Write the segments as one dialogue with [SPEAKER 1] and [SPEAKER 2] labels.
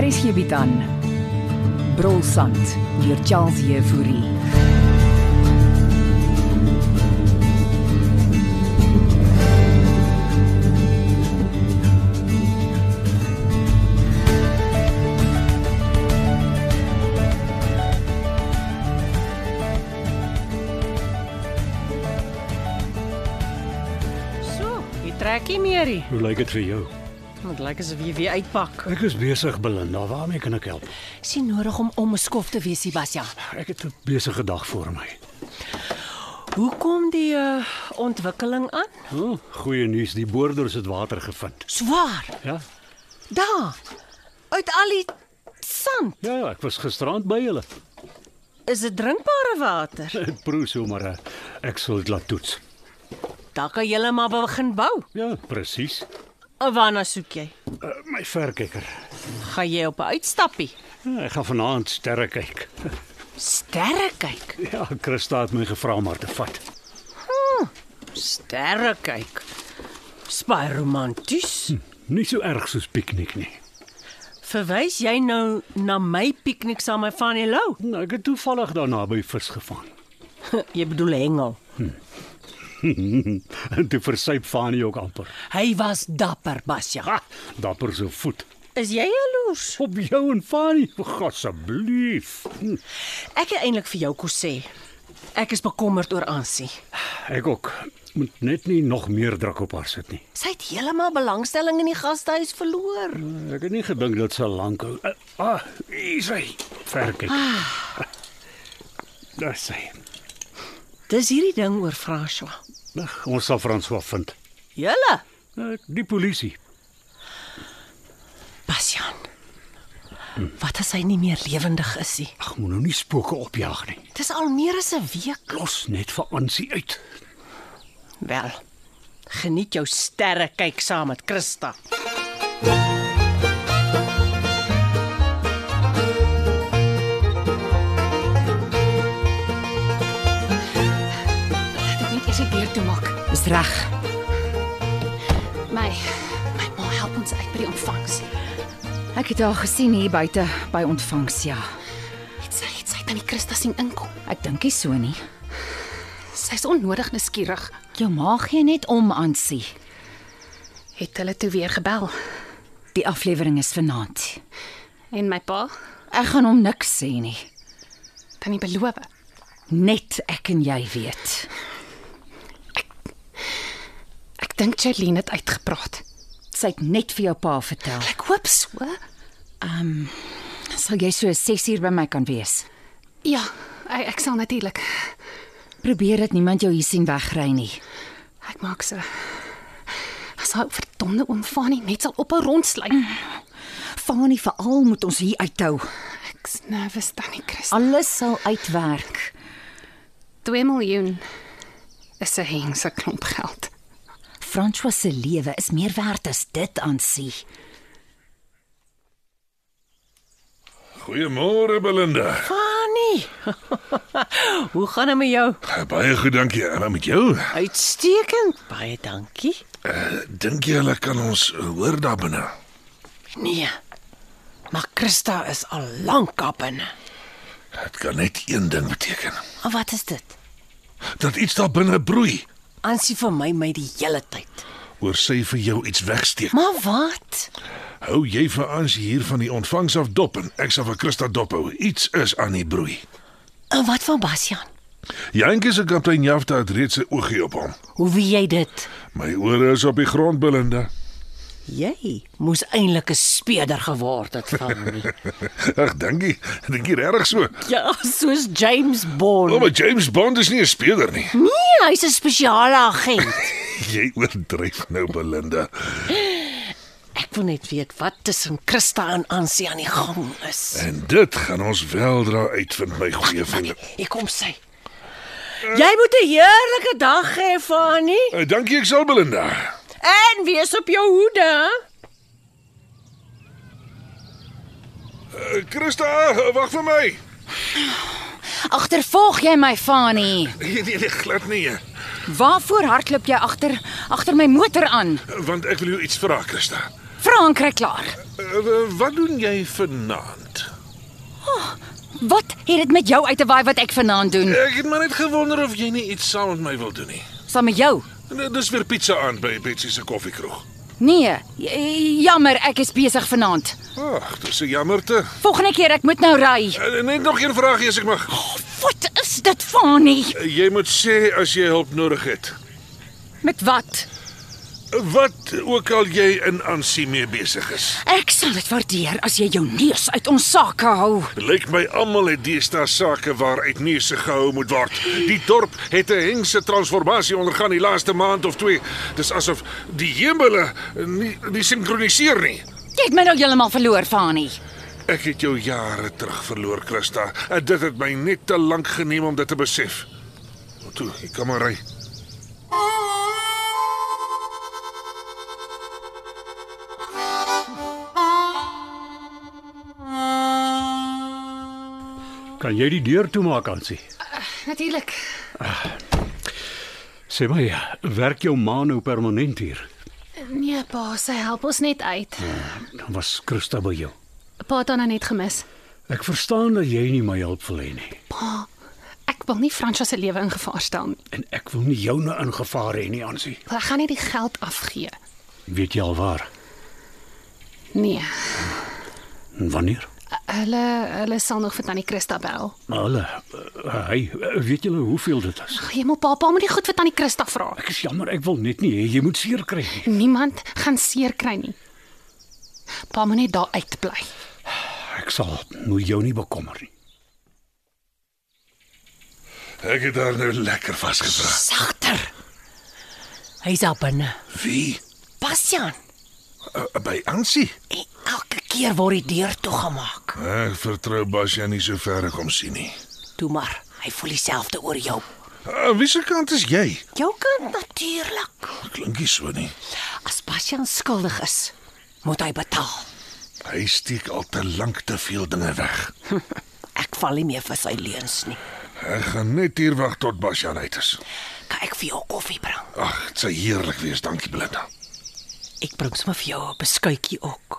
[SPEAKER 1] Hier is hierby dan. Brolsand deur Charles Jefouri.
[SPEAKER 2] So, jy trek nie meer nie.
[SPEAKER 3] Hoe lyk dit vir jou?
[SPEAKER 2] Moet lyk asof jy weer uitpak.
[SPEAKER 3] Ek is besig, Belinda. Waarmee kan ek help?
[SPEAKER 2] Sien nodig om om 'n skof te wees, Sebastian.
[SPEAKER 3] Ek het 'n besige dag voor my.
[SPEAKER 2] Hoe kom die uh, ontwikkeling aan?
[SPEAKER 3] Hm, goeie nuus, die boorders het water gevind.
[SPEAKER 2] Swaar.
[SPEAKER 3] Ja?
[SPEAKER 2] Daar. Uit al die sand
[SPEAKER 3] Ja, ja, ek was gisterand by julle.
[SPEAKER 2] is dit drinkbare water.
[SPEAKER 3] Ek proe so maar eh, ek sal dit laat toets.
[SPEAKER 2] Daar kan jy maar begin bou.
[SPEAKER 3] Ja, presies.
[SPEAKER 2] En waarna soek jy?
[SPEAKER 3] Uh, my verkyker.
[SPEAKER 2] Gaan jy op 'n uitstappie?
[SPEAKER 3] Ja, ek gaan vanaand sterre kyk.
[SPEAKER 2] Sterre kyk.
[SPEAKER 3] Ja, Christa het my gevra om haar te vat.
[SPEAKER 2] Sterre kyk. Spaar romanties.
[SPEAKER 3] Nie so erg soos piknik nie.
[SPEAKER 2] Verwys jy nou na my piknik saam met Fanny Lou?
[SPEAKER 3] Nou, ek het toevallig daarna by vis gevang.
[SPEAKER 2] jy bedoel hengel.
[SPEAKER 3] en toe versuip Fanie ook amper.
[SPEAKER 2] Hy was dapper, Basja.
[SPEAKER 3] Ha, dapper so voet.
[SPEAKER 2] Is jy jaloers?
[SPEAKER 3] Op jou en Fanie, asseblief. Hm.
[SPEAKER 2] Ek het eintlik vir jou kos sê. Ek is bekommerd oor Ansie.
[SPEAKER 3] Ek ook. Moet net nie nog meer druk op haar sit nie.
[SPEAKER 2] Sy het heeltemal belangstelling in die gastehuis verloor.
[SPEAKER 3] Ek het nie gedink dit sal lank hou. Uh, ah, hier is hy. Verkyk. Ah. Daar sê.
[SPEAKER 2] Dis hierdie ding oor François.
[SPEAKER 3] Ag, ons sal François vind.
[SPEAKER 2] Julle,
[SPEAKER 3] Uh, die polisie.
[SPEAKER 2] Bastian. Wat as hy nie meer lewendig is nie?
[SPEAKER 3] Ag, moet nou nie spooke opjaag nie.
[SPEAKER 2] Dis al meer as 'n week.
[SPEAKER 3] Los net vir Ansie uit.
[SPEAKER 2] Wel. Geniet jou sterre kyk saam met Christa.
[SPEAKER 4] Net eers die deur toe maak.
[SPEAKER 1] Dis reg.
[SPEAKER 4] My my ma help ons uit by die ontvangs.
[SPEAKER 1] Ek het haar gesien hier buite by ontvangs, ja.
[SPEAKER 4] Het sy het sy tannie Christa sien inkom.
[SPEAKER 1] Ek dink nie so nie.
[SPEAKER 4] Sy's onnodig nuuskierig.
[SPEAKER 1] Jou ma gee net om aan sie.
[SPEAKER 4] Het hulle toe weer gebel.
[SPEAKER 1] Die aflewering is vanaand.
[SPEAKER 4] En my pa,
[SPEAKER 1] Ek gaan hom niks sê nie.
[SPEAKER 4] tannie beloof.
[SPEAKER 1] Net ek en jy weet.
[SPEAKER 4] Ek dink Charlene het uitgepraat.
[SPEAKER 1] Sy het net vir jou pa vertel.
[SPEAKER 4] Ek hoop so.
[SPEAKER 1] Sal jy so 6uur by my kan wees?
[SPEAKER 4] Ja, ek, ek sal natuurlik.
[SPEAKER 1] Probeer dat niemand jou hier sien wegry nie.
[SPEAKER 4] Ek maak so. As hy verdomde oom Fanie net sal op haar rondslyn.
[SPEAKER 1] Fanie veral moet ons hier uithou.
[SPEAKER 4] Ek's nervus tannie Christa.
[SPEAKER 1] Alles sal uitwerk.
[SPEAKER 4] 2 miljoen is 'n hengse klomp geld.
[SPEAKER 1] François se lewe is meer werd as dit aan sie.
[SPEAKER 5] Goeiemôre Belinda.
[SPEAKER 2] Fanny. Hoe gaan dit met jou?
[SPEAKER 5] Baie goed dankie. En dan met jou.
[SPEAKER 2] Uitstekend. Baie dankie.
[SPEAKER 5] Dink jy hulle kan ons hoor daar binne?
[SPEAKER 2] Nee. Maar Christa is al lank op in.
[SPEAKER 5] Dit kan net een ding beteken.
[SPEAKER 2] En wat is dit?
[SPEAKER 5] Dat iets daar binne broei
[SPEAKER 2] Ansie vir my my die hele tyd.
[SPEAKER 5] oor sy vir jou iets wegsteek.
[SPEAKER 2] Maar wat?
[SPEAKER 5] Hou jy vir ons hier van die ontvangs af dop en ek sal vir Christa dop hou. Iets is aan die broei.
[SPEAKER 2] En wat van Bastian?
[SPEAKER 5] Jantjie se kaptein Jafta het reeds sy oogie op hom.
[SPEAKER 2] Hoe weet jy dit?
[SPEAKER 5] My ore is op die grond Belinda.
[SPEAKER 2] Jy moes eintlik 'n speeder geword het van my.
[SPEAKER 5] Ag dankie. Dink jy regtig so?
[SPEAKER 2] ja, soos James
[SPEAKER 5] O,
[SPEAKER 2] Bond.
[SPEAKER 5] maar James Bond is nie 'n speler nie.
[SPEAKER 2] Nee, hy's 'n spesiale agent.
[SPEAKER 5] Jy oordryf nou Belinda.
[SPEAKER 2] Ek wil net weet wat tussen Christa en Ansie aan die gang is.
[SPEAKER 5] En dit gaan ons weldra uitvind my goeie vriende.
[SPEAKER 2] Hier kom sy. Jy moet 'n heerlike dag hê, Fanny,
[SPEAKER 5] Uh, dankie ek sal Belinda.
[SPEAKER 2] en wees op jou hoede. hè?
[SPEAKER 5] Eh, Christa, wag vir my.
[SPEAKER 6] Agtervolg jy my, Fani?
[SPEAKER 5] Nee, nee, nee, glad nie.
[SPEAKER 6] Waarvoor hardloop jy agter agter my motor aan?
[SPEAKER 5] Want ek wil jou iets vra, Christa.
[SPEAKER 6] Vra en kry klaar.
[SPEAKER 5] Eh, Wat doen jy vanaand?
[SPEAKER 6] Wat het dit met jou uit te waai wat ek vanaand doen?
[SPEAKER 5] Ek het maar net gewonder of jy nie iets saam met my wil doen nie.
[SPEAKER 6] Saam met jou?
[SPEAKER 5] D- Dis weer pizza aan by Betsy se koffiekroeg.
[SPEAKER 6] Nee, j- jammer, ek is besig vanaand.
[SPEAKER 5] Ag, dis 'n jammerte.
[SPEAKER 6] Volgende keer ek moet nou ry.
[SPEAKER 5] Eh, Net nog een vraagie as ek mag.
[SPEAKER 6] Wat is dit, Fani?
[SPEAKER 5] Eh, Jy moet sê as jy hulp nodig het.
[SPEAKER 6] Met wat?
[SPEAKER 5] Wat ook al jy in aansie mee besig is.
[SPEAKER 6] Ek sal dit waardeer as jy jou neus uit ons sake hou.
[SPEAKER 5] Lyk my almal het deesdae sake waaruit neuse gehou moet word. Die dorp het 'n hengse transformasie ondergaan die laaste maand of twee. Dis asof die hemele nie nie sinkroniseer nie.
[SPEAKER 6] Jy het my nou heeltemal verloor, Fani.
[SPEAKER 5] Ek het jou jare terug verloor, Christa. En dit het my net te lank geneem om dit te besef. Maar Toe, ek kan maar ry.
[SPEAKER 3] Kan jy die deur toemaak, Ansie?
[SPEAKER 4] Natuurlik.
[SPEAKER 3] Sê my, werk jou ma nou permanent hier?
[SPEAKER 4] Nee, pa, sy help ons net uit.
[SPEAKER 3] Dan was Christa by jou.
[SPEAKER 4] Pa het haar nou net gemis.
[SPEAKER 3] Ek verstaan dat jy nie my hulp wil hê nie
[SPEAKER 4] Ek wil nie Fransja se lewe in gevaar stel nie.
[SPEAKER 3] en ek wil nie joune in gevaar hê nie, Ansie.
[SPEAKER 4] Ek gaan nie die geld afgee.
[SPEAKER 3] Weet jy al waar?
[SPEAKER 4] Nee.
[SPEAKER 3] En wanneer?
[SPEAKER 4] Hulle hulle sal nog vir tannie Christa bel.
[SPEAKER 3] Hulle, eh, hy, eh, weet julle hoeveel dit is?
[SPEAKER 4] Ag, hemel, pa, pa moet nie goed vir tannie Christa vra.
[SPEAKER 3] Ek is jammer, ek wil net nie hê jy moet seer kry nie.
[SPEAKER 4] Niemand gaan seer kry nie. Pa moet net daar uitbly.
[SPEAKER 3] Ek sal moet jou nie bekommer nie.
[SPEAKER 5] Ek het haar nou lekker vasgevra.
[SPEAKER 2] Sagter. Hy's al binne.
[SPEAKER 5] Wie?
[SPEAKER 2] Bastian,
[SPEAKER 5] Uh, by Ansie.
[SPEAKER 2] en elke keer word die deur toegemaak.
[SPEAKER 5] Ek vertrou Basja nie so ver ek hom sien nie.
[SPEAKER 2] Toe maar, hy voel dieselfde oor jou.
[SPEAKER 5] Aan uh, wiese kant is jy?
[SPEAKER 2] Jou kant natuurlik.
[SPEAKER 5] Klink nie so nie.
[SPEAKER 2] As Bastian skuldig is, moet hy betaal.
[SPEAKER 5] Hy steek al te lank te veel dinge weg.
[SPEAKER 2] Ek val nie meer vir sy leuns nie.
[SPEAKER 5] Ek gaan net hier wag tot Basja uit is.
[SPEAKER 2] Kan ek vir jou koffie bring?
[SPEAKER 5] Ag, dit sal heerlik wees, dankie Belinda.
[SPEAKER 2] Ek bring sommer vir jou 'n beskuitjie ook.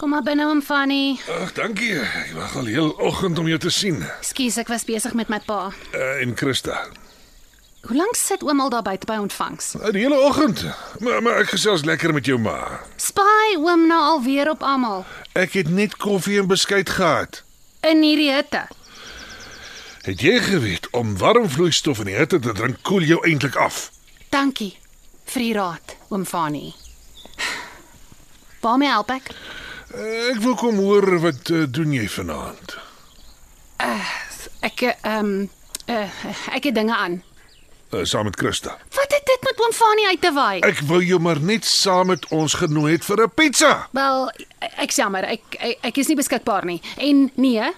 [SPEAKER 4] Kom maar binne om Fanny.
[SPEAKER 5] Ag, dankie. Ek wag al heel oggend om jou te sien.
[SPEAKER 4] Ekskuus, ek was besig met my pa.
[SPEAKER 5] Uh, en Christa.
[SPEAKER 4] Hoe lank sit oom al daar buite by ontvangs?
[SPEAKER 5] Uh, die hele oggend. Maar, maar ek gesels lekker met jou ma.
[SPEAKER 4] Spy oom nou alweer op almal
[SPEAKER 5] Ek het net koffie en beskuit gehad.
[SPEAKER 4] in hierdie hitte.
[SPEAKER 5] Het jy geweet om warm vloeistof in die hitte te drink koel jou eintlik af?
[SPEAKER 4] Dankie vir die raad, oom Fanny. Waarmee help ek?
[SPEAKER 5] Uh, ek wil kom hoor wat uh, doen jy vanaand?
[SPEAKER 4] Ek eh, ehm uh, ek het dinge aan.
[SPEAKER 5] Uh, saam met Christa.
[SPEAKER 4] Wat het dit met oom Fanny uit te waai?
[SPEAKER 5] Ek wou jou maar net saam met ons genooi het vir 'n pizza.
[SPEAKER 4] Wel, ek jammer, ek, ek ek is nie beskikbaar nie. En nee,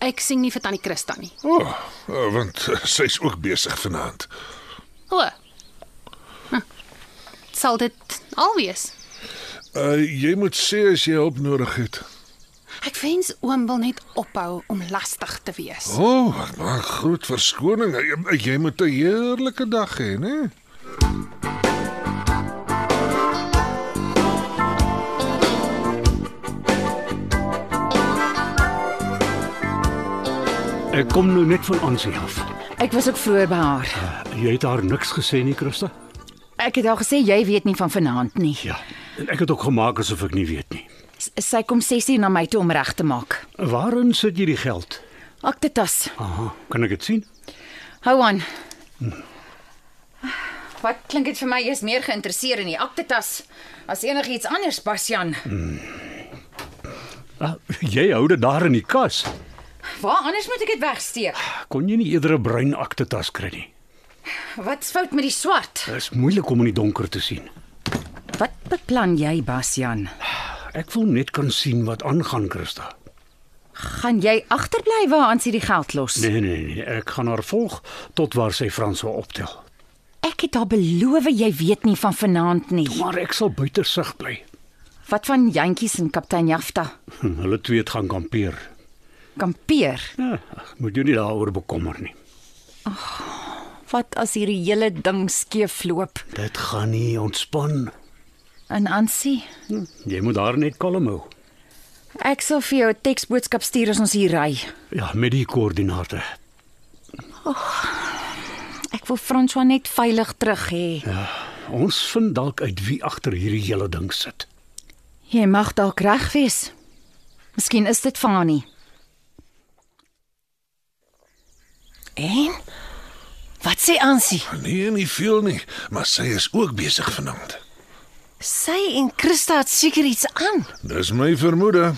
[SPEAKER 4] ek sing nie vir tannie Christa nie.
[SPEAKER 5] O, oh, eh, want eh, sy's ook besig vanaand.
[SPEAKER 4] O. Hm. Sal dit al wees?
[SPEAKER 5] Uh jy moet sê as jy hulp nodig het.
[SPEAKER 4] Ek wens oom wil net ophou om lastig te wees.
[SPEAKER 5] O, oh, ek maak groot verskoning. Jy, jy moet 'n heerlike dag hê, né?
[SPEAKER 3] Ek kom nou net van Ansie af.
[SPEAKER 1] Ek was ook vroeër by haar.
[SPEAKER 3] Jy het haar niks gesê nie, Christa?
[SPEAKER 1] Ek het al gesê jy weet nie van vanaand nie.
[SPEAKER 3] Ja. En ek het ook gemaak asof ek nie weet nie.
[SPEAKER 1] S- Sy kom 6:00 na my toe om reg te maak.
[SPEAKER 3] Waarin sit jy die geld?
[SPEAKER 1] Aktetas.
[SPEAKER 3] Aha, kan ek dit sien?
[SPEAKER 1] Hou aan.
[SPEAKER 6] Wat klink dit vir my jy's meer geïnteresseerd in die aktetas as enigiets anders, Basjan?
[SPEAKER 3] Ah, jy hou dit daar in die kas.
[SPEAKER 6] Waar anders moet ek dit wegsteek?
[SPEAKER 3] Kon jy nie eerder 'n bruin akte tas kry nie?
[SPEAKER 6] Wat's fout met die swart?
[SPEAKER 3] Dit is moeilik om in die donker te sien.
[SPEAKER 1] Wat beplan jy, Basjan?
[SPEAKER 3] Ek wil net kan sien wat aangaan, Christa.
[SPEAKER 6] Gaan jy agterbly waar Hansie die geld los?
[SPEAKER 3] Nee nee nee, ek gaan haar volg tot waar sy Frans wil optel.
[SPEAKER 6] Ek het haar beloof jy weet nie van vanaand nie.
[SPEAKER 3] Maar ek sal buite sig bly.
[SPEAKER 6] Wat van Jantjies en kaptein Jafta?
[SPEAKER 3] Hm, Hulle twee het gaan kampeer.
[SPEAKER 6] Kampeer.
[SPEAKER 3] Ja, ag, moet jou nie daaroor bekommer nie.
[SPEAKER 6] Wat as hierdie hele ding skeefloop?
[SPEAKER 3] Dit gaan nie ontspan.
[SPEAKER 6] En Hansie,
[SPEAKER 3] Hm, Jy moet daar net kalm hou.
[SPEAKER 6] ek sal vir jou 'n teksboodskap stuur as ons hier ry.
[SPEAKER 3] Ja, met die koördinate.
[SPEAKER 6] Ek wil François net veilig terug hê.
[SPEAKER 3] Ons vind dalk uit wie agter hierdie hele ding sit.
[SPEAKER 6] Jy mag dalk reg wees. Miskien is dit Fanie.
[SPEAKER 2] En wat sê Ansie?
[SPEAKER 5] Nee, nie veel nie, maar sy is ook besig vanaand.
[SPEAKER 2] Sy en Christa het seker iets aan.
[SPEAKER 5] Dis my vermoede.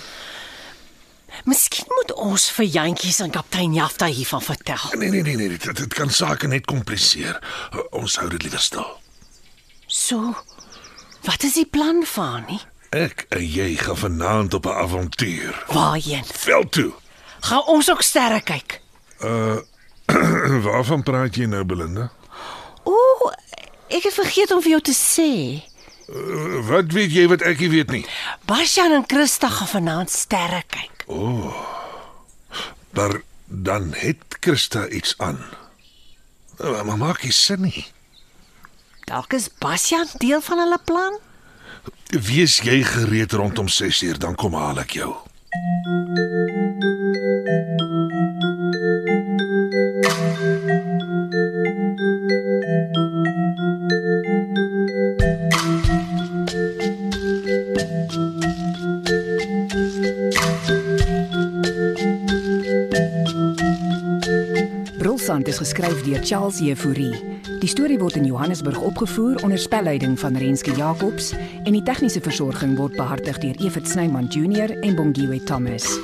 [SPEAKER 2] Miskien moet ons vir Jantjies en kaptein Jafta hiervan vertel.
[SPEAKER 5] Nee nee nee nee, dit, dit kan sake net kompliseer. Ons hou dit liewer stil.
[SPEAKER 2] So, wat is die plan van nie?
[SPEAKER 5] Ek en jy gaan vanaand op 'n avontuur.
[SPEAKER 2] Waarheen?
[SPEAKER 5] Veld toe.
[SPEAKER 2] Gaan ons ook sterre kyk?
[SPEAKER 5] Waarvan praat jy nou, Belinda?
[SPEAKER 2] Ooh, ek het vergeet om vir jou te sê.
[SPEAKER 5] Eh, Wat weet jy wat ek nie weet nie?
[SPEAKER 2] Basjan en Christa gaan vanaand sterre kyk.
[SPEAKER 5] Maar dan het Christa iets aan. Eh, Maar maak nie sin nie.
[SPEAKER 2] Dalk is Basjan deel van hulle plan.
[SPEAKER 5] Wees jy gereed rondom 6uur dan kom haal ek jou.
[SPEAKER 1] Brulsand is geskryf deur Charles Jefouri. Die storie word in Johannesburg opgevoer onder spelleiding van Renske Jacobs en die tegniese versorging word behartig deur Evert Snyman Junior en Bongwe Thomas.